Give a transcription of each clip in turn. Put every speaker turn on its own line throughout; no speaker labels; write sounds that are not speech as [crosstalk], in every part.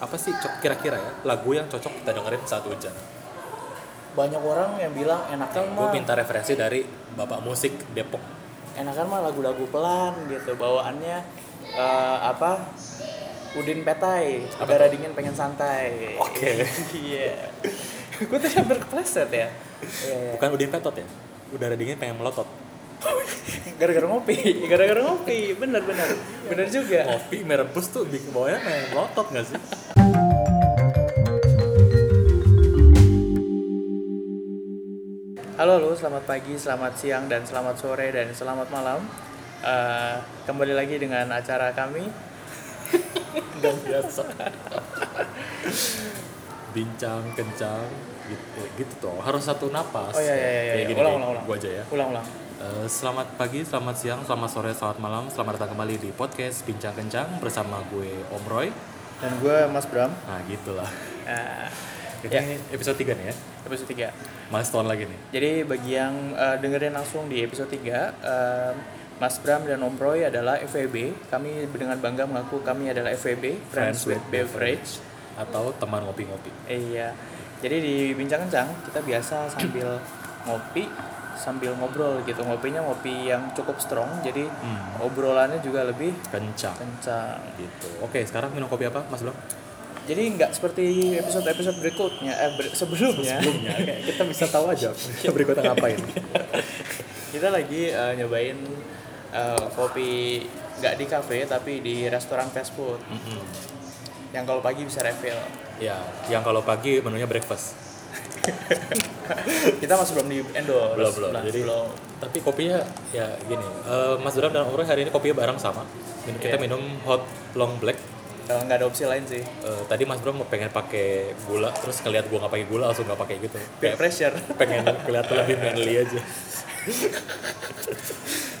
apa sih co- kira-kira ya lagu yang cocok kita dengerin saat hujan?
banyak orang yang bilang
Gue
enakan mah
minta referensi dari bapak musik Depok.
enakan mah lagu-lagu pelan gitu bawaannya eh, apa udin petai
Apa
udara dingin pengen santai
Oke.
[laughs] iya gue tadi hampir kepleset ya Iya, iya.
Bukan Udin Petot ya? Udara dingin pengen melotot.
gara-gara ngopi [laughs] gara-gara ngopi bener bener bener juga
Kopi merebus tuh bikin bawahnya pengen melotot gak sih?
Halo, halo, selamat pagi, selamat siang, dan selamat sore, dan selamat malam. Eh, kembali lagi dengan acara kami.
Gak biasa. [laughs] Bincang, kencang, gitu, gitu toh. Harus satu napas.
Oh iya, iya, iya,
Kayak
iya.
gini,
Ulang,
kayak
ulang, ulang.
Gua aja ya.
Ulang-ulang.
Eh, selamat pagi, selamat siang, selamat sore, selamat malam. Selamat datang kembali di podcast Bincang Kencang bersama gue Om Roy.
Dan gue Mas Bram.
Nah, gitulah.
Eh,
Ini episode 3 nih ya.
episode 3.
Milestone lagi nih.
Jadi bagi yang eh, dengerin langsung di episode 3, eh, Mas Bram dan Om Roy adalah FEB. Kami dengan bangga mengaku kami adalah FEB, Friends, with Beverage.
atau teman ngopi-ngopi.
Iya. Jadi di bincang kencang kita biasa sambil ngopi, sambil ngobrol gitu. Ngopinya ngopi yang cukup strong, jadi
Hmm.
obrolannya juga lebih
Kencang
kencang.
gitu. Oke, sekarang minum kopi apa, Mas Bro?
Jadi nggak seperti episode-episode berikutnya, eh, ber- sebelumnya.
Sebelumnya
[laughs]
kayak kita bisa tahu aja kita [laughs] berikutnya ngapain.
kita lagi eh, nyobain eh, kopi nggak di cafe tapi di restoran fast food
Mm-mm.
yang kalau pagi bisa
[laughs]
refill.
Ya, yang kalau pagi menunya breakfast.
kita masih belum di endorse. Nah,
Belum, belum. Jadi-
belum.
Tapi kopinya ya gini, eh, Mas Bram dan Om Roy hari ini kopinya bareng sama. Minum- Kita
Iya.
minum hot long black.
Eh, nggak ada opsi lain sih.
Eh, tadi Mas Bram mau pengen pakai gula, terus ngeliat gua nggak pakai gula langsung nggak pakai gitu.
Peer
Kayak
pressure. [laughs]
pengen kelihatan lebih manly aja.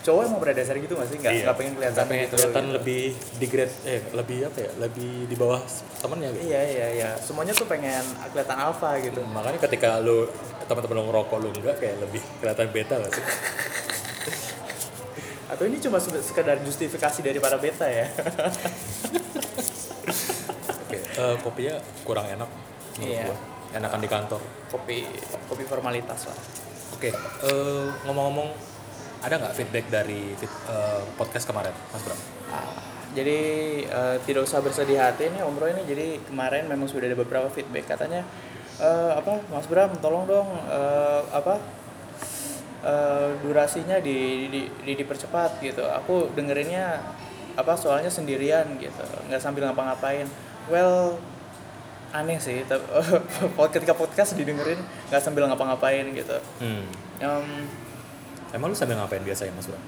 Cowok emang pada dasar gitu nggak sih? Nggak
Iya.
nggak pengen kelihatan
Pengen
gitu.
kelihatan lebih degrade, eh lebih apa ya? Lebih di bawah temennya gitu.
Iya iya iya. Semuanya tuh pengen kelihatan alpha gitu.
Makanya ketika lu teman-teman lu ngerokok lu enggak kayak lebih kelihatan beta gak sih?
Atau ini cuma se- sekedar justifikasi dari para beta ya?
Oke, eh, kopinya kurang enak menurut
Iya.
gua. Enakan di kantor.
kopi kopi formalitas lah.
Oke, eh, ngomong-ngomong ada nggak feedback dari fit- eh, podcast kemarin, Mas Bram?
Ah, Jadi eh, tidak usah bersedih hati nih Om Roy ini. Jadi kemarin memang sudah ada beberapa feedback katanya eh, apa Mas Bram tolong dong eh, apa eh, durasinya di, di, di- dipercepat gitu. Aku dengerinnya apa soalnya sendirian gitu, nggak sambil ngapa-ngapain. Well aneh sih, tep- pod- [laughs] ketika podcast didengerin nggak sambil ngapa-ngapain gitu.
Hmm.
Em,
Emang lu sambil ngapain biasanya, Mas Bram?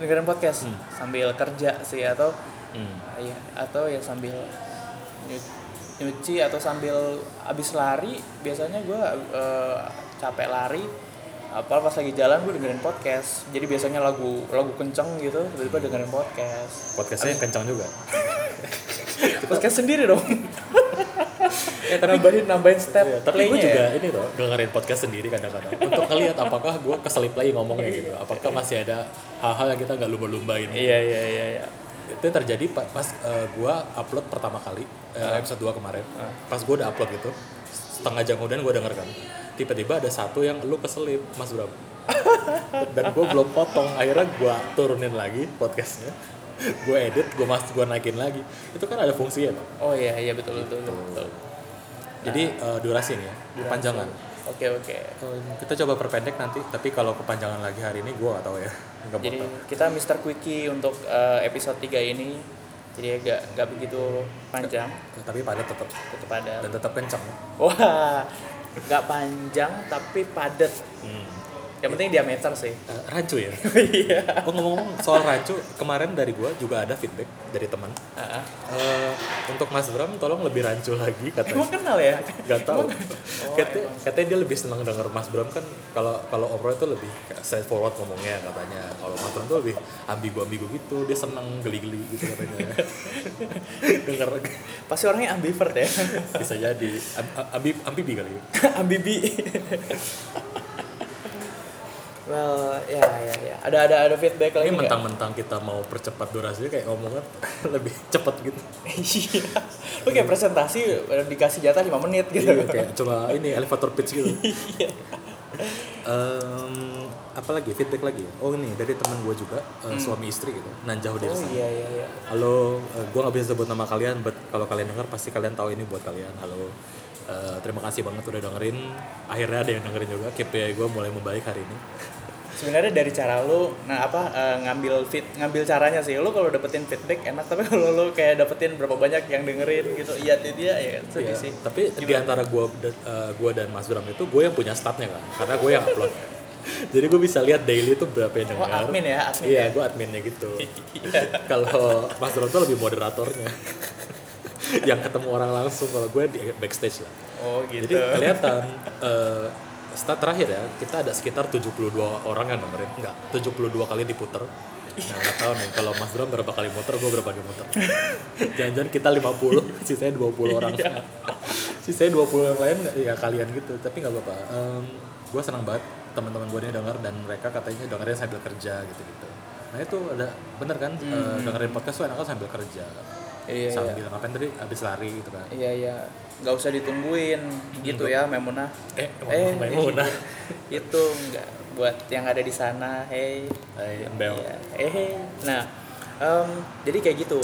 dengerin podcast
Hmm.
sambil kerja sih atau
Hmm.
Iya, atau ya sambil nyu- nyuci atau sambil abis lari biasanya gue capek lari apa pas lagi jalan gue dengerin podcast jadi biasanya lagu lagu kenceng gitu tiba-tiba dengerin podcast
Podcastnya kencang juga.
podcast sendiri [laughs] dong Ya, nambahin nambahin step ya.
Iya, tapi gue juga ini loh dengerin podcast sendiri kadang-kadang untuk ngeliat apakah gue keselip lagi ngomongnya gitu, apakah masih ada hal-hal yang kita nggak lumba-lumbain.
iya iya iya iya
itu terjadi pa- pas eh, gua upload pertama kali eh, episode 2 kemarin pas gua udah upload gitu setengah jam kemudian gua dengarkan tiba-tiba ada satu yang lu keselip mas bram dan gua belum potong akhirnya gua turunin lagi podcastnya gua edit gua mas gua naikin lagi itu kan ada fungsinya Bang.
oh iya iya betul betul, betul.
jadi eh, durasi nih ya kepanjangan
oke oke
Eh, kita coba perpendek nanti tapi kalau kepanjangan lagi hari ini gua nggak tahu ya nggak mau
Jadi
tahu.
kita Mr. Quickie untuk eh, episode 3 ini. Jadi agak nggak begitu panjang
tapi padat tetap
kepada.
dan tetap kencang
Wah, nggak panjang tapi padat. Yang penting diameter sih.
Eh, rancu ya
[laughs] Iya.
Oh ngomong-ngomong soal rancu, kemarin dari gua juga ada feedback dari teman.
Ah, ah.
Eh, untuk Mas Bram tolong lebih rancu lagi katanya.
Emang Oh, kenal ya?
Gak tau. katanya, katanya dia lebih senang denger Mas Bram kan kalau kalau Om Roy itu lebih kayak straightforward ngomongnya katanya. Kalau Mas Bram tuh lebih ambigu-ambigu gitu, dia senang geli-geli gitu katanya.
[laughs]
denger
Pasti orangnya ambivert ya. [laughs]
bisa jadi Am- am- ambi ambibi kali ya.
Ambibi. well ya ya ya ada ada ada feedback lagi
Ini
nggak?
mentang-mentang kita mau percepat durasi kayak omongan lebih [laughs] cepat gitu.
[laughs] Iya. Lu kayak presentasi eh, dikasih jatah 5 menit gitu.
Iya, kayak cuma ini elevator pitch
[laughs]
gitu.
Iya.
Em, apalagi feedback lagi ya? Oh ini dari teman gue juga eh, suami istri gitu, nan jauh dari
Hmm. Oh
sana.
iya iya iya.
Halo, gue nggak bisa sebut nama kalian, but kalau kalian dengar pasti kalian tahu ini buat kalian. Halo, Eh, terima kasih banget udah dengerin. Akhirnya ada yang dengerin juga. KPI gue mulai membaik hari ini.
Sebenarnya dari cara lu nah apa eh, ngambil fit ngambil caranya sih. Lu kalau dapetin feedback enak tapi [laughs] kalau lu kayak dapetin berapa banyak yang dengerin gitu. Iya dia dia ya sedih
Iya,
sih.
Tapi di antara gue gua dan Mas Bram itu gue yang punya statnya kan, karena gue yang
[laughs]
upload. Jadi gue bisa lihat daily itu berapa yang
Oh,
dengar.
admin ya, admin.
Iya, gue adminnya gitu. kalau Mas Bram tuh lebih moderatornya. yang ketemu orang langsung kalau gue di backstage lah.
Oh gitu.
Jadi kelihatan eh, stat terakhir ya, kita ada sekitar 72 orang yang dengerin. Enggak, 72 kali diputer. Nah, nggak tahu nih kalau Mas Bram berapa kali muter, gue berapa kali muter. Jangan-jangan kita 50, [laughs] sisanya 20 orang.
Iya.
sisanya 20 yang lain ya kalian gitu, tapi nggak apa-apa. gue senang banget teman-teman gue ini denger dan mereka katanya dengerin sambil kerja gitu-gitu. Nah itu ada bener kan eh, dengerin podcast tuh enaknya sambil kerja.
Hmm. Iya,
sambil ngapain tadi habis lari gitu kan.
Iya iya. Gak usah ditungguin gitu ya [laughs] Memunah.
Eh, Maimunah.
itu enggak buat yang ada di sana. Hey.
Hai, Embel.
Iya. Eh, nah, em, jadi kayak gitu.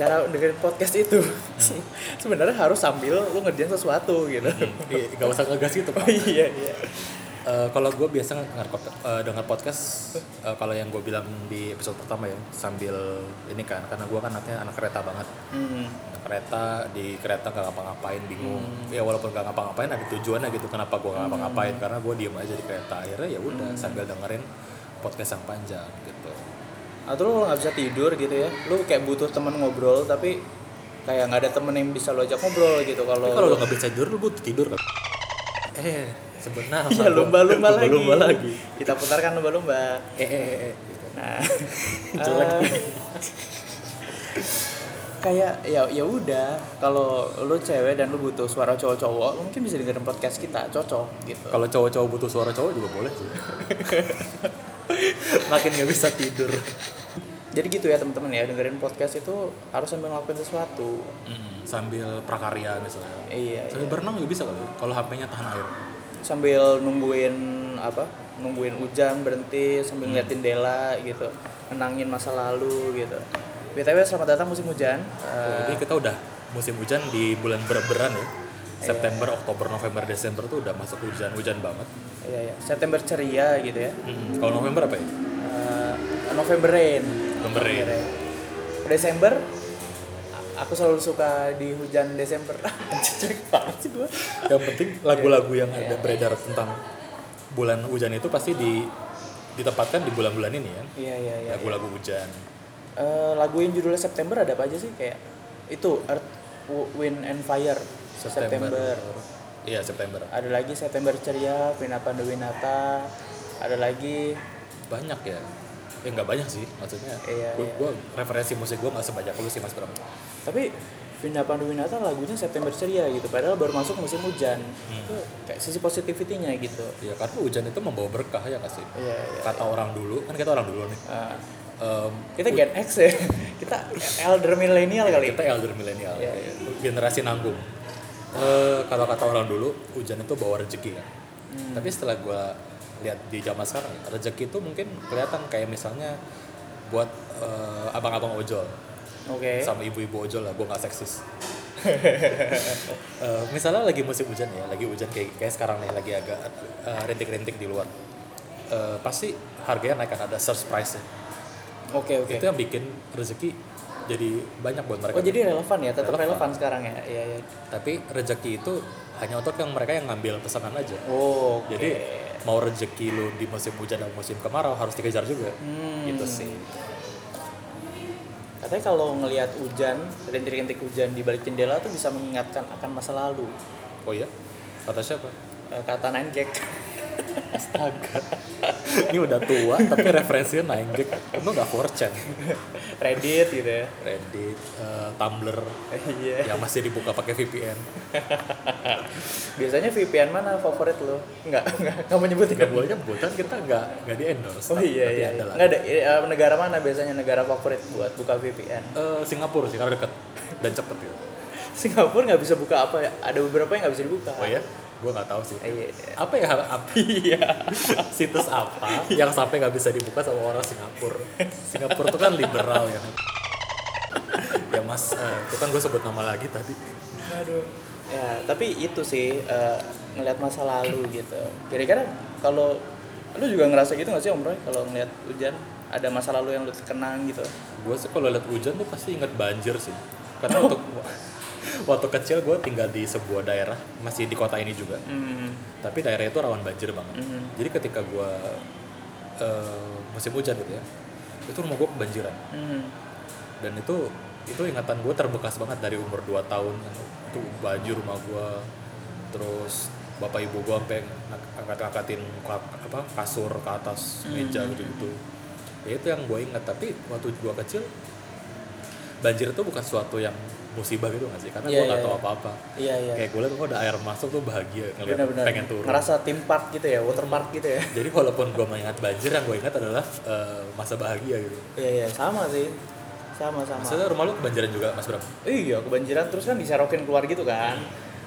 Cara dengerin podcast itu Hmm. [laughs] sebenarnya harus sambil lu ngerjain sesuatu gitu.
Iya, gak usah ngegas gitu pak.
Oh iya iya.
Eh, kalau gue biasa denger, pod- eh, denger podcast, eh, kalau yang gue bilang di episode pertama ya, sambil ini kan, karena gue kan anaknya anak kereta banget.
Hmm.
Anak kereta, di kereta gak ngapa-ngapain, bingung. Ya walaupun gak ngapa-ngapain, ada tujuannya gitu, kenapa gue gak ngapa-ngapain. Karena gue diem aja di kereta, akhirnya ya udah sambil dengerin podcast yang panjang gitu.
Atau Ah, lu nggak bisa tidur gitu ya? Lu kayak butuh teman ngobrol tapi kayak nggak ada temen yang bisa lo ajak ngobrol gitu kalau
Tapi [laughs] kalau lo gak bisa tidur, lo butuh tidur kan? Eh, sebenarnya.
Iya, lumba-lumba lagi.
Lumba-lumba lagi.
Kita putarkan lumba-lumba.
Eh, eh, eh, eh. gitu.
Nah,
[laughs] Jelek.
eh, kayak ya ya udah kalau lu cewek dan lu butuh suara cowok-cowok lu mungkin bisa dengerin podcast kita cocok gitu
Kalau cowok-cowok butuh suara cowok juga boleh sih. [laughs] Makin nggak bisa tidur.
jadi gitu ya teman-teman ya dengerin podcast itu harus sambil ngelakuin sesuatu
Hmm, Sambil prakarya misalnya.
iya,
Sambil
iya.
berenang juga bisa kali. Kalau HP-nya tahan air.
sambil nungguin apa nungguin hujan berhenti sambil ngeliatin Dela gitu menangin masa lalu gitu btw selamat datang musim hujan Eh,
Jadi kita udah musim hujan di bulan berberan ya. September, Oktober, November, Desember tuh udah masuk hujan, hujan banget.
iya, iya. September ceria gitu ya
Kalau November apa ya?
Eh, November rain
November ya.
Keren. Desember a- aku selalu suka di hujan Desember. [laughs] Jelek banget sih gua.
Yang penting lagu-lagu yang ada beredar tentang bulan hujan itu pasti di ditempatkan di bulan-bulan ini ya.
Iya iya iya.
Lagu-lagu hujan.
Eh, lagu yang judulnya September ada apa aja sih kayak itu Earth W- Wind and Fire September.
Iya, September.
Ada lagi September ceria, Winata Winata. Ada lagi
banyak ya ya nggak banyak sih maksudnya
Iya,
gue
iya.
referensi musik gue nggak sebanyak lu sih mas Bram
tapi Winata Winata lagunya September ceria gitu padahal baru masuk musim hujan. Itu kayak sisi positivity-nya gitu.
ya karena hujan itu membawa berkah ya nggak sih
Iya iya.
kata orang dulu kan kita orang dulu nih
Ah.
Em,
kita Gen X ya [laughs] kita elder milenial kali
kita elder milenial
Iya,
generasi nanggung Eh, kalau kata orang dulu hujan itu bawa rezeki kan
Hmm.
tapi setelah gue lihat di zaman sekarang rezeki itu mungkin kelihatan kayak misalnya buat eh, abang-abang ojol
oke
sama ibu-ibu ojol lah, gue gak seksis. [laughs] Eh, misalnya lagi musim hujan ya, lagi hujan kayak, kayak sekarang nih, lagi agak eh, rintik-rintik di luar. Eh, pasti harganya naik kan ada surprise price-nya.
oke oke
Itu yang bikin rezeki jadi banyak buat mereka.
oh jadi relevan ya tetap relevan sekarang ya iya iya
Tapi rezeki itu hanya untuk yang mereka yang ngambil pesanan aja.
oh oke
Jadi mau rezeki lu di musim hujan atau musim kemarau harus dikejar juga.
Hmm.
Gitu sih.
katanya kalau ngelihat hujan rintik-rintik hujan di balik jendela tuh bisa mengingatkan akan masa lalu [laughs]
Oh iya? Kata siapa?
Eh, kata Nankek
Astaga. Ini udah tua tapi referensinya naik. Lu nggak 4chan.
Reddit gitu ya.
Reddit, eh,
[laughs]
Tumblr
Iya.
yang masih dibuka pakai VPN.
Biasanya VPN mana favorit lo? Enggak, enggak, enggak mau nyebutin.
Gak boleh nyebut kan kita nggak nggak di endorse.
Oh iya iya.
Ada lah.
Enggak ada eh, negara mana biasanya negara favorit buat buka VPN?
Eh, Singapura sih karena deket dan cepet gitu.
[laughs] Singapura nggak bisa buka apa ya? Ada beberapa yang nggak bisa dibuka.
Oh ya, gue nggak tahu sih.
iya? Eh, Iya. iya.
Apa ya [laughs] apa situs
[laughs]
apa yang sampai nggak bisa dibuka sama orang Singapura? Singapura tuh kan liberal ya. ya mas, eh, itu kan gue sebut nama lagi tadi.
Aduh. Ya, tapi itu sih eh, ngelihat masa lalu gitu. Kira-kira kalau lu juga ngerasa gitu nggak sih Om Roy kalau ngelihat hujan ada masa lalu yang lu kenang gitu?
Gue sih kalau lihat hujan tuh pasti inget banjir sih. Karena
Oh.
untuk [laughs] waktu kecil gue tinggal di sebuah daerah masih di kota ini juga.
Hmm.
Tapi daerah itu rawan banjir banget.
Mhm.
Jadi ketika gue musim hujan gitu ya, itu rumah gue kebanjiran.
Hmm.
dan itu itu ingatan gue terbekas banget dari umur 2 tahun itu baju rumah gue terus bapak ibu gue sampai ang- angkat-angkatin ka- apa kasur ke atas
Mm-hmm.
meja gitu gitu ya itu yang gue ingat tapi waktu gue kecil banjir itu bukan suatu yang musibah gitu nggak sih karena
Iya,
gue nggak
iya,
tahu
iya.
apa-apa
Iya iya.
kayak gue liat kok ada air masuk tuh bahagia ngeliat
Benar-benar.
pengen turun
Ngerasa tim park gitu ya, water park gitu ya.
jadi walaupun gue mengingat banjir yang gue ingat adalah eh, masa bahagia gitu
Iya iya, sama sih. Sama sama.
maksudnya rumah lu kebanjiran juga mas Bram
Iya, kebanjiran terus kan diserokin keluar gitu kan.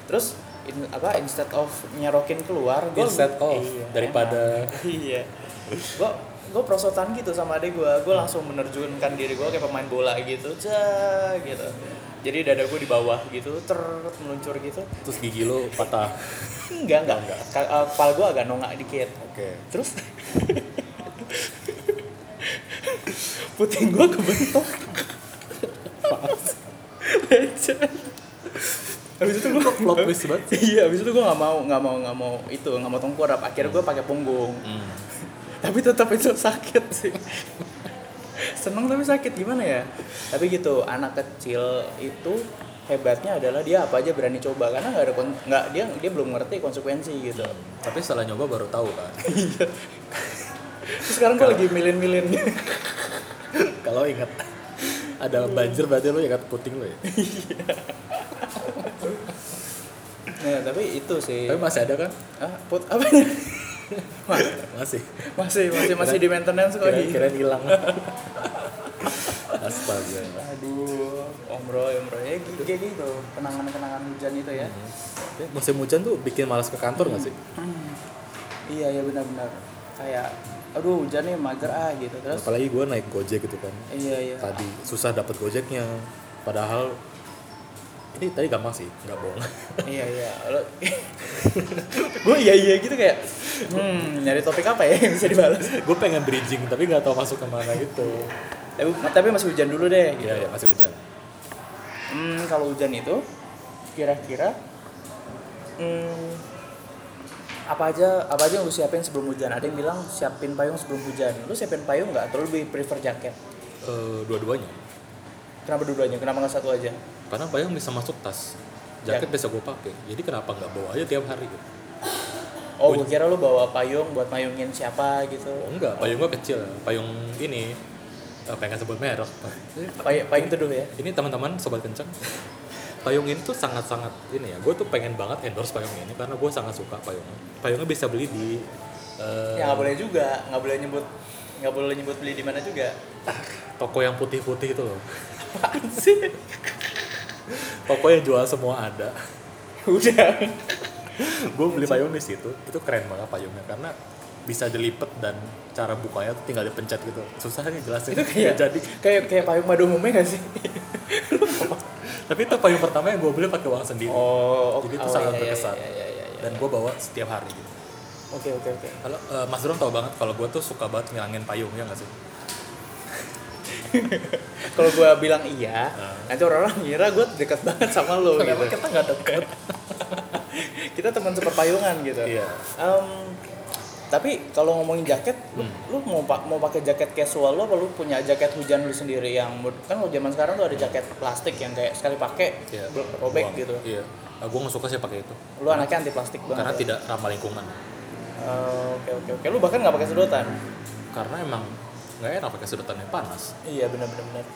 Terus in- apa instead of nyerokin keluar, gua
Instead of, Iya. daripada-
emang. [laughs] iya. Gua gua prosotan gitu sama adek gua, gua langsung menerjunkan diri gua kayak pemain bola gitu, cah gitu. Jadi dada gua di bawah gitu, ter meluncur gitu.
terus gigi lu patah
Enggak, enggak.
Enggak.
Ka- eh, Kepala gua agak nongak dikit.
oke
Terus puting gua kebentuk. Lecet. Habis itu gua
plot twist banget
Iya, habis itu gua nggak mau, nggak mau, nggak mau itu, nggak mau tengkurap. Akhirnya gua pakai punggung.
Hmm.
Tapi tetap itu sakit sih. Seneng tapi sakit gimana ya? Tapi gitu, anak kecil itu hebatnya adalah dia apa aja berani coba karena nggak ada kon- nggak dia dia belum ngerti konsekuensi gitu.
tapi setelah nyoba baru tahu kan
Terus sekarang gua lagi milin-milin.
[laughs] kalau ingat ada banjir berarti lu ingat puting lu ya
Nah, tapi itu sih.
tapi masih ada kan
Ah, put apa [laughs] ya? Ma-
masih
masih masih masih di
Oh,
maintenance kok iya. di.
kira-kira hilang [laughs] astaga
Aduh, Om Roy, Om Roy. Ya, gitu, kayak gitu, kenangan-kenangan hujan itu ya.
Eh, musim hujan tuh bikin malas ke kantor nggak sih
Hmm. Iya, iya benar-benar. Kayak aduh hujan nih mager ah gitu. Terus
apalagi gue naik gojek gitu kan
iya iya.
tadi susah dapat gojeknya padahal ini tadi gampang sih nggak bohong [laughs]
iya iya. [laughs] gue iya iya gitu kayak hmm, nyari topik apa ya yang bisa dibalas.
gue pengen bridging tapi nggak tahu masuk kemana gitu
Tapi tapi masih hujan dulu deh gitu.
iya ya masih hujan
Hmm, kalau hujan itu kira-kira hmm, apa aja apa aja yang lu siapin sebelum hujan? Ada yang bilang siapin payung sebelum hujan. Lu siapin payung nggak? Atau lu lebih prefer jaket?
Eh, dua-duanya
Kenapa dua-duanya? Kenapa nggak satu aja?
karena payung bisa masuk tas jaket
Ya.
bisa gue pakai jadi kenapa nggak bawa aja tiap hari gitu
Oh, gue kira lu bawa payung buat mayungin siapa gitu.
oh, enggak payung gue kecil payung ini eh, pengen sebut [laughs] merek
Pay- payung teduh ya.
ini teman-teman sobat kenceng payung ini tuh sangat-sangat ini ya gue tuh pengen banget endorse payung ini karena gue sangat suka payungnya payungnya bisa beli di eh,
Ya nggak boleh juga, nggak boleh nyebut nggak boleh nyebut beli di mana juga. [laughs]
toko yang putih-putih itu loh [laughs]
Apaan sih?
toko yang jual semua ada [laughs]
Udah.
gue beli payung di situ itu keren banget payungnya karena bisa dilipet dan cara bukanya tuh tinggal dipencet gitu susah nih jelasin
Itu kayak
Nggak [laughs] jadi
kayak kayak payung pada umumnya nggak sih?
tapi itu payung pertama yang gue beli pakai uang sendiri
Oh,
Jadi itu sangat
iya, iya,
berkesan.
iya, iya, iya, iya.
dan gue bawa setiap hari gitu
Oke oke oke.
kalau eh, Mas Ron tau banget kalau gue tuh suka banget ngilangin payung ya nggak sih
[laughs] Kalau gue bilang iya,
Ah.
nanti orang-orang ngira gue dekat banget sama lo
Kenapa
gitu.
kita nggak deket
[laughs] Kita teman seperpayungan gitu.
iya
Em, tapi kalau ngomongin jaket, lu,
Hmm.
lu mau pa- mau pakai jaket casual lo, apa lu punya jaket hujan lu sendiri yang mud- kan kalau zaman sekarang tuh ada jaket plastik yang kayak sekali pakai
iya
bro-
Buang.
robek gitu.
iya gue nggak suka sih pakai itu
Lu anaknya anti plastik banget.
karena
ya?
tidak ramah lingkungan
Oh, Oke oke oke. Lu bahkan nggak pakai sedotan.
karena emang nggak enak pakai sedotannya panas
Iya benar benar benar.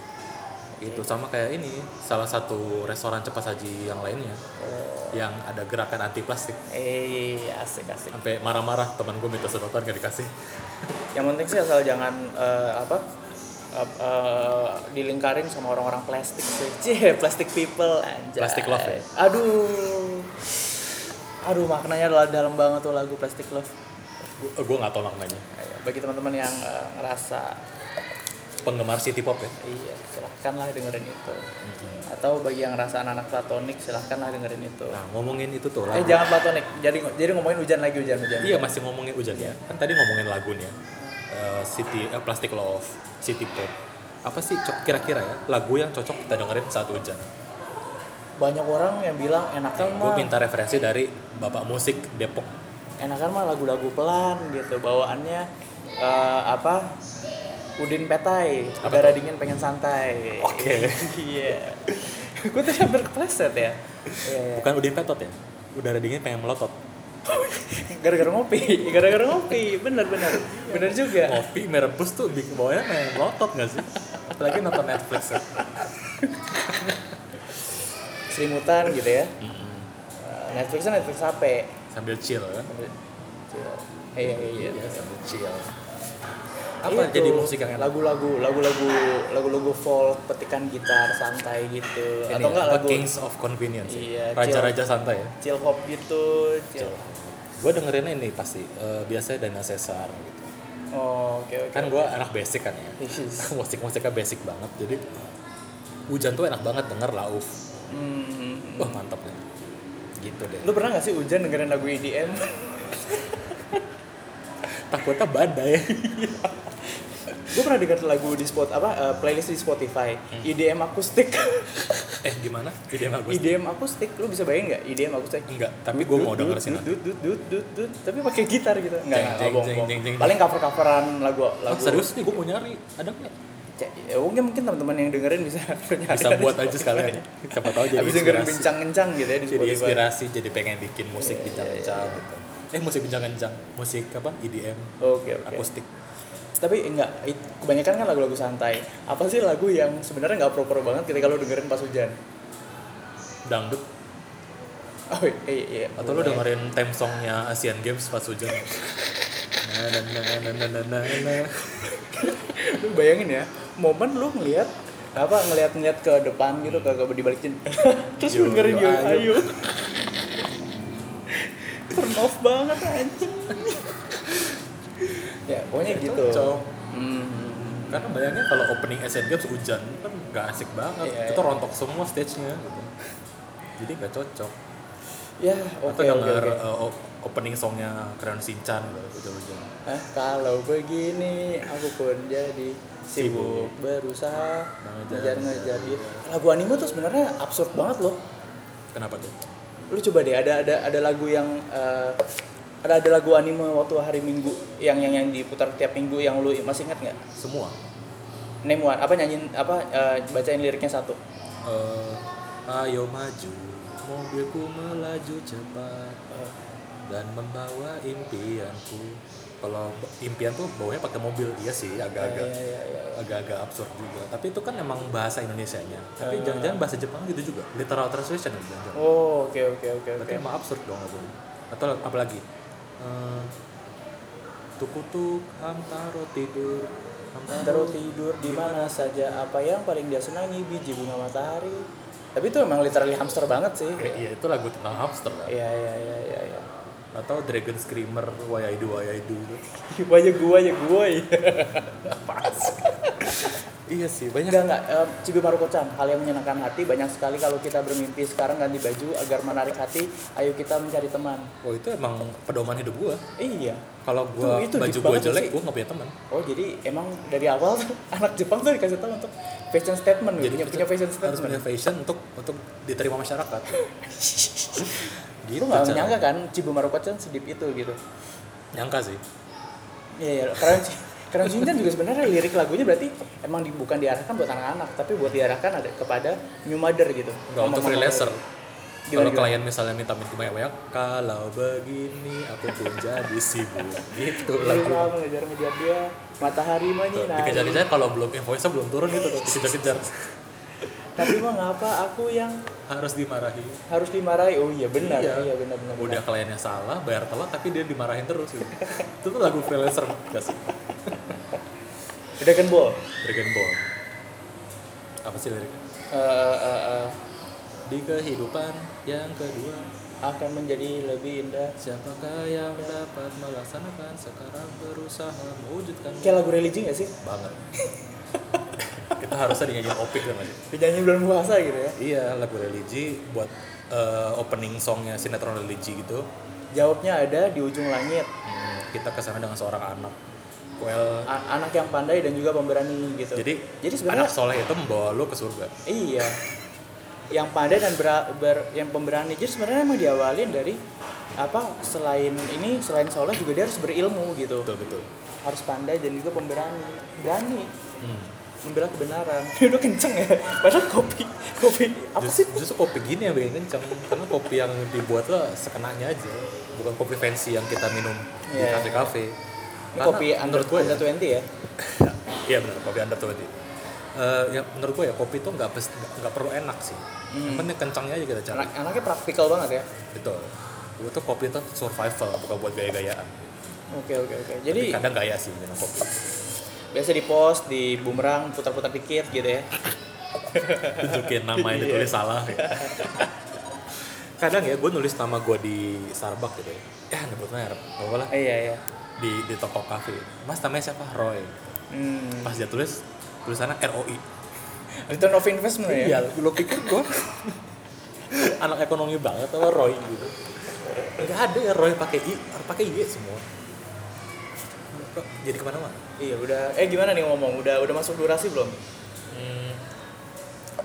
itu sama kayak ini salah satu restoran cepat saji yang lainnya
Oh,
yang ada gerakan anti plastik
eh asik asik.
sampai marah-marah teman gue minta sedotan gak dikasih
Yang penting sih asal jangan eh, apa ap- eh, dilingkarin sama orang-orang plastik sih. [laughs] Cie, plastic people anjay.
Plastic love ya?
Aduh. Aduh maknanya adalah dalam banget tuh lagu Plastic Love.
gue nggak tahu namanya
Ayo, Bagi teman-teman yang eh, ngerasa
penggemar city pop ya
iya silahkanlah dengerin itu.
Mm-hmm.
Atau bagi yang ngerasa anak-anak platonik silahkanlah dengerin itu.
nah ngomongin itu tuh
Eh
lagu
jangan platonik. Jadi jadi ngomongin hujan lagi hujan hujan.
iya masih ngomongin hujan ya kan tadi ngomongin lagunya Eh, city eh, plastic love city pop apa sih co- kira-kira ya lagu yang cocok kita dengerin saat hujan
Banyak orang yang bilang enakan
gue
mah
minta referensi dari bapak musik Depok
enakan mah lagu-lagu pelan gitu bawaannya eh, apa udin petai
Apa
udara dingin pengen santai
Oke.
iya gue tuh hampir kepleset ya Iya,
bukan Udin Petot ya udara dingin pengen melotot
iya. gara-gara ngopi [laughs] gara-gara ngopi bener bener bener juga
ngopi merebus tuh bikin bawahnya pengen melotot gak sih apalagi nonton Netflix ya
selimutan gitu ya Netflix Netflix HP
sambil chill kan
iya iya
Iya,
iya
sambil chill apa
Itu,
jadi musik yang enak
lagu-lagu lagu-lagu lagu-lagu folk petikan gitar santai gitu
Ini
atau enggak
apa,
lagu
Kings of Convenience ya?
Iya,
raja-raja santai ya
chill hop gitu chill.
gue dengerin ini pasti eh, biasanya Dana Caesar gitu
Oh, oke oke
kan gue anak basic kan ya [laughs]
Yes.
musik-musiknya basic banget jadi hujan tuh enak banget denger lauf
Hmm.
wah mantap deh gitu deh
lu pernah gak sih hujan dengerin lagu E EDM
[laughs] takutnya badai
gue pernah denger lagu di spot apa eh, playlist di Spotify
Hmm.
EDM
[laughs]
akustik
eh gimana ide yang bagus
EDM akustik lu bisa bayangin nggak EDM akustik
enggak tapi gue mau denger sih nanti
dut, dut, dut, dut, dut, tapi pakai gitar gitu
Jeng,
nggak nggak,
jeng,
bohong,
jeng,
bohong.
jeng, jeng.
paling cover coveran lagu
Oh,
lagu
serius nih gue mau nyari ada nggak
Cek, ya, mungkin mungkin teman-teman yang dengerin bisa [laughs]
bisa buat aja sekalian siapa tahu jadi
habis dengerin
inspirasi
bincang-bincang gitu ya di
jadi
Spotify
inspirasi jadi pengen bikin musik
Iya,
bincang-bincang gitu eh musik bincang-bincang musik apa EDM
oke oke
akustik
tapi enggak it- kebanyakan kan lagu-lagu santai apa sih lagu yang sebenarnya nggak proper banget ketika lo dengerin pas hujan [laughs]
dangdut
oh iya iya, iya
atau lo dengerin theme songnya Asian Games pas hujan Na, na, na, na, na, na, na, na.
[laughs] Lu bayangin ya momen lo ngelihat apa ngelihat ngelihat ke depan gitu ke, ke di balik jendela [laughs] terus
Yo,
lo dengerin
yo,
yo
ayo. [laughs]
ayo turn off banget
[laughs]
anjing ya pokoknya gitu
Cocok.
Hmm.
karena bayangnya Kan kalau opening Asian Games hujan kan nggak asik banget
Iya,
itu
iya.
rontok semua stage-nya gitu. jadi nggak cocok
ya
atau
oke oke
denger
oke
uh, op- opening songnya Crayon Shinchan gitu hujan-hujan
Hah, kalau begini aku pun jadi sibuk berusaha
Mengejar-
ngejar-ngejar dia. Lagu anime tuh sebenarnya absurd banget loh.
kenapa tuh
Lu coba deh ada ada ada lagu yang eh, ada ada lagu anime waktu hari Minggu yang yang yang diputar tiap minggu yang lu masih ingat nggak?
semua
Name one apa nyanyiin apa eh, bacain liriknya satu.
Eh, ayo maju mobilku melaju cepat dan membawa impianku kalau impian tuh bawanya pakai mobil iya sih agak-agak
Ya, ya, ya, ya.
agak-agak absurd juga tapi itu kan emang bahasa Indonesianya tapi jangan-jangan bahasa Jepang gitu juga literal translation ya jangan-jangan
Oh oke oke oke oke.
berarti emang absurd dong lagu ini. atau apalagi Eh, tukutuk hamtaro tidur
Terus tidur di mana saja apa yang paling dia senangi biji bunga matahari. Tapi itu emang literally hamster banget sih.
Eh, iya itu lagu tentang hamster kan
Iya iya iya iya [laughs] iya.
atau Dragon Screamer Wayaidu Wayaidu itu
Gua ya gua ya gua ya.
iya sih banyak
Enggak enggak em, Cibi Maruko-chan, hal yang menyenangkan hati banyak sekali kalau kita bermimpi sekarang ganti baju agar menarik hati, ayo kita mencari teman.
oh itu emang pedoman hidup gua
Iya.
kalau gua
Itu- itu
baju
deep
gua
banget
jelek
sih.
gua nggak punya teman
Oh jadi emang dari awal tuh [laughs] anak Jepang tuh dikasih tahu untuk fashion statement gitu, punya, punya fashion
harus punya
statement.
fashion untuk untuk diterima
[laughs]
masyarakat gitu
Lu nggak
Chan.
menyangka kan Cibi Maruko-chan sedip itu gitu.
nyangka sih
Iya, iya. Keren sih. Keren sih kan juga sebenarnya lirik lagunya berarti emang di- bukan diarahkan buat anak-anak, tapi buat diarahkan ada kepada new mother gitu.
nggak untuk
Mama-mama
freelancer
gitu. Gimana,
Kalau
gimana?
klien misalnya minta minta banyak kalau begini aku pun jadi sibuk gitu
Lalu
lagu.
kamu ngejar-ngejar dia matahari mah
Tuh,
nyinari.
Dikejar-kejar kalau belum invoice belum turun itu tuh dikejar-kejar
Tapi mah ngapa aku yang
harus dimarahi.
harus dimarahi? Oh iya benar, iya,
Iya.
benar benar. benar.
Udah kliennya salah, bayar telat tapi dia dimarahin terus gitu. itu tuh lagu freelancer gak sih?
Dragon Ball.
Dragon Ball. Apa sih liriknya?
Eh, eh, eh, eh,
Di kehidupan yang kedua,
akan menjadi lebih indah.
siapakah yang dapat melaksanakan sekarang berusaha mewujudkan
Kayak lagu religi gak sih?
banget. [laughs] Kita harusnya dinyanyiin opik kan aja.
Penyanyi bulan puasa gitu ya.
Iya, lagu religi buat eh, opening songnya sinetron religi gitu.
Jawabnya ada di ujung langit.
Hmm, kita kesana dengan seorang anak. Well,
A- anak yang pandai dan juga pemberani gitu.
jadi
jadi
anak
sebenarnya
soleh itu membawa lo ke surga.
iya. Yang pandai dan bera- ber- yang pemberani. Jadi sebenarnya emang diawalin dari apa selain ini selain soleh juga dia harus berilmu gitu.
Betul betul.
harus pandai dan juga pemberani berani
Hmm.
membela kebenaran [laughs] udah kenceng ya padahal kopi kopi apa sih
Just- Justru kopi gini yang bikin kenceng Karena kopi yang dibuat tuh sekenanya aja Bukan kopi fancy yang kita minum di
Iya.
kafe-kafe
ini
Karena
kopi under
menurut gue
under
ya,
twenty ya
[laughs] Iya benar, kopi under 20 Eh, ya, menurut gue ya kopi tuh nggak pes- nggak perlu enak sih
Hmm.
yang penting kencangnya aja kita cari
anak anaknya praktikal banget ya
betul gue tuh kopi tuh survival bukan buat gaya-gayaan
oke oke oke
jadi
jadi
kadang gaya sih minum kopi
[laughs] biasa di post di bumerang putar-putar dikit gitu ya
tunjukin nama
Iya.
yang ditulis
[laughs]
salah kadang ya gue nulis nama gue di Starbucks gitu ya ya nyebut merek nggak apa-apa lah
Ah, iya iya
di di toko kafe mas namanya siapa Roy
hmm.
pas dia tulis tulisannya ROI
return of investment ya
lo pikir gue [laughs] anak ekonomi banget sama Roy gitu nggak ada ya Roy pakai i pakai y semua Kok jadi kemana-mana
iya udah eh gimana nih ngomong udah udah masuk durasi belum
hmm,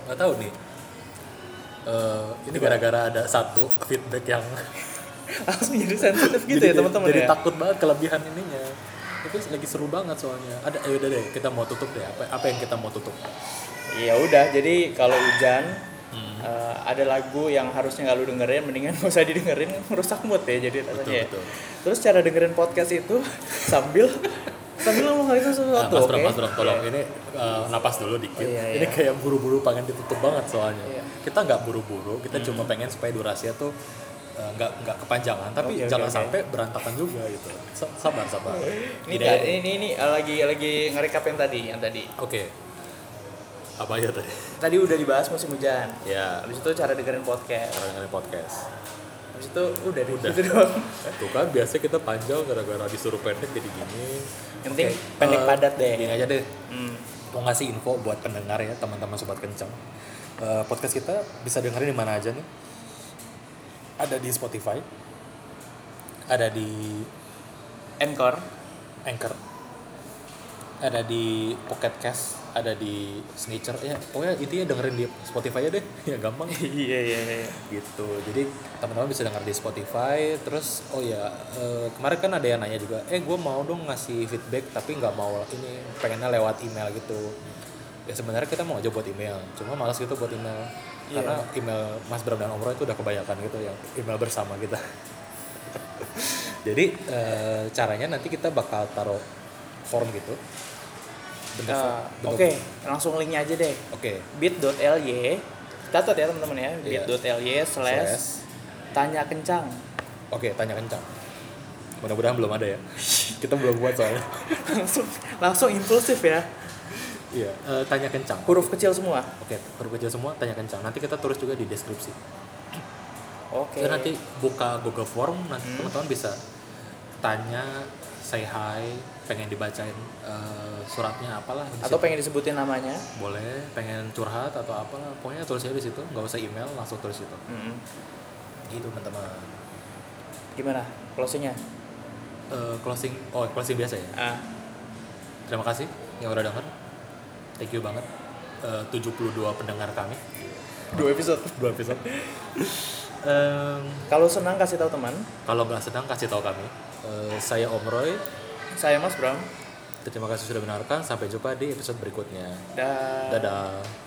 nggak tahu nih Eh,
Iya.
ini gara-gara ada satu feedback yang
[laughs] langsung jadi sensitif gitu
jadi-
ya teman-teman
jadi
ya
takut banget kelebihan ininya itu lagi seru banget soalnya ada ayo udah deh kita mau tutup deh apa apa yang kita mau tutup
Iya udah, jadi kalau hujan
Hmm.
eh, ada lagu yang harusnya nggak lu dengerin, mendingan [laughs] gak usah didengerin, merusak mood ya jadi
betul
rasanya.
betul
Terus cara dengerin podcast itu [laughs] sambil sambil lu ngelakuin
Nah,
sesuatu,
mas
oke?
Bram, Mas Bram, tolong ini eh, napas dulu dikit.
Iya,
Ini
iya.
kayak buru-buru pengen ditutup banget soalnya.
Iya. Hmm.
Kita nggak buru-buru, kita cuma pengen supaya durasinya tuh eh, nggak nggak kepanjangan, tapi
Oke, oke,
jangan
oke.
sampai berantakan juga gitu. Sa- Sabar, sabar.
Ini,
Ide-
nggak- ini, ini, ini, eh, lagi lagi ngerekap yang tadi, yang tadi.
Oke. Apa aja tadi?
Tadi udah dibahas musim hujan.
Ya,
Habis itu cara dengerin podcast.
orang dengerin podcast.
Habis itu udah deh,
Udah.
gitu doang.
Tuh kan biasanya kita panjang gara-gara disuruh pendek jadi gini.
Yang penting
Oke,
pendek
eh,
padat deh.
Gini aja deh.
Hmm.
mau ngasih info buat pendengar ya teman-teman sobat kencang Eh, podcast kita bisa dengerin di mana aja nih ada di Spotify ada di
Anchor. [laughs]
Anchor ada di Pocket Cast ada di Snitcher ya pokoknya intinya dengerin di Spotify aja deh [laughs] ya gampang
iya iya iya.
gitu jadi teman-teman bisa denger di Spotify terus oh ya eh, kemarin kan ada yang nanya juga eh gue mau dong ngasih feedback tapi nggak mau ini pengennya lewat email gitu ya sebenarnya kita mau aja buat email cuma malas gitu buat email
Iya.
karena email Mas Bram dan Om Roy itu udah kebanyakan gitu yang email bersama kita [laughs] jadi eh, caranya nanti kita bakal taruh form gitu bentuk
Eh,
bentuk-
Oke, langsung linknya aja deh.
oke
bit.ly catat ya teman-teman ya
Iya.
bit.ly
Slash.
slash tanya kencang
Oke, tanya kencang. Mudah-mudahan belum ada ya. [laughs] Kita belum buat soalnya.
langsung langsung impulsif ya
Iya, eh, tanya kencang. Oke,
huruf kecil semua
huruf kecil semua tanya kencang. Nanti kita tulis juga di deskripsi.
oke Hmm.
Terus nanti buka Google Form, nanti teman-teman bisa tanya, say hi, pengen dibacain eh, suratnya apalah. di situ.
atau pengen disebutin namanya
boleh pengen curhat atau apalah pokoknya tulis aja di situ nggak usah email langsung tulis itu
Mm-mm.
gitu teman-teman
gimana closingnya
Eh, closing oh closing biasa ya
ah
Terima kasih yang udah denger. Thank you banget. Eh, 72 pendengar kami.
dua episode
Dua
[laughs]
episode. Em,
kalau senang kasih tahu teman
kalau nggak sedang kasih tahu kami. Eh, saya Om Roy.
saya mas Bram
Terima kasih sudah mendengarkan. Sampai jumpa di episode berikutnya.
dan
Dadah.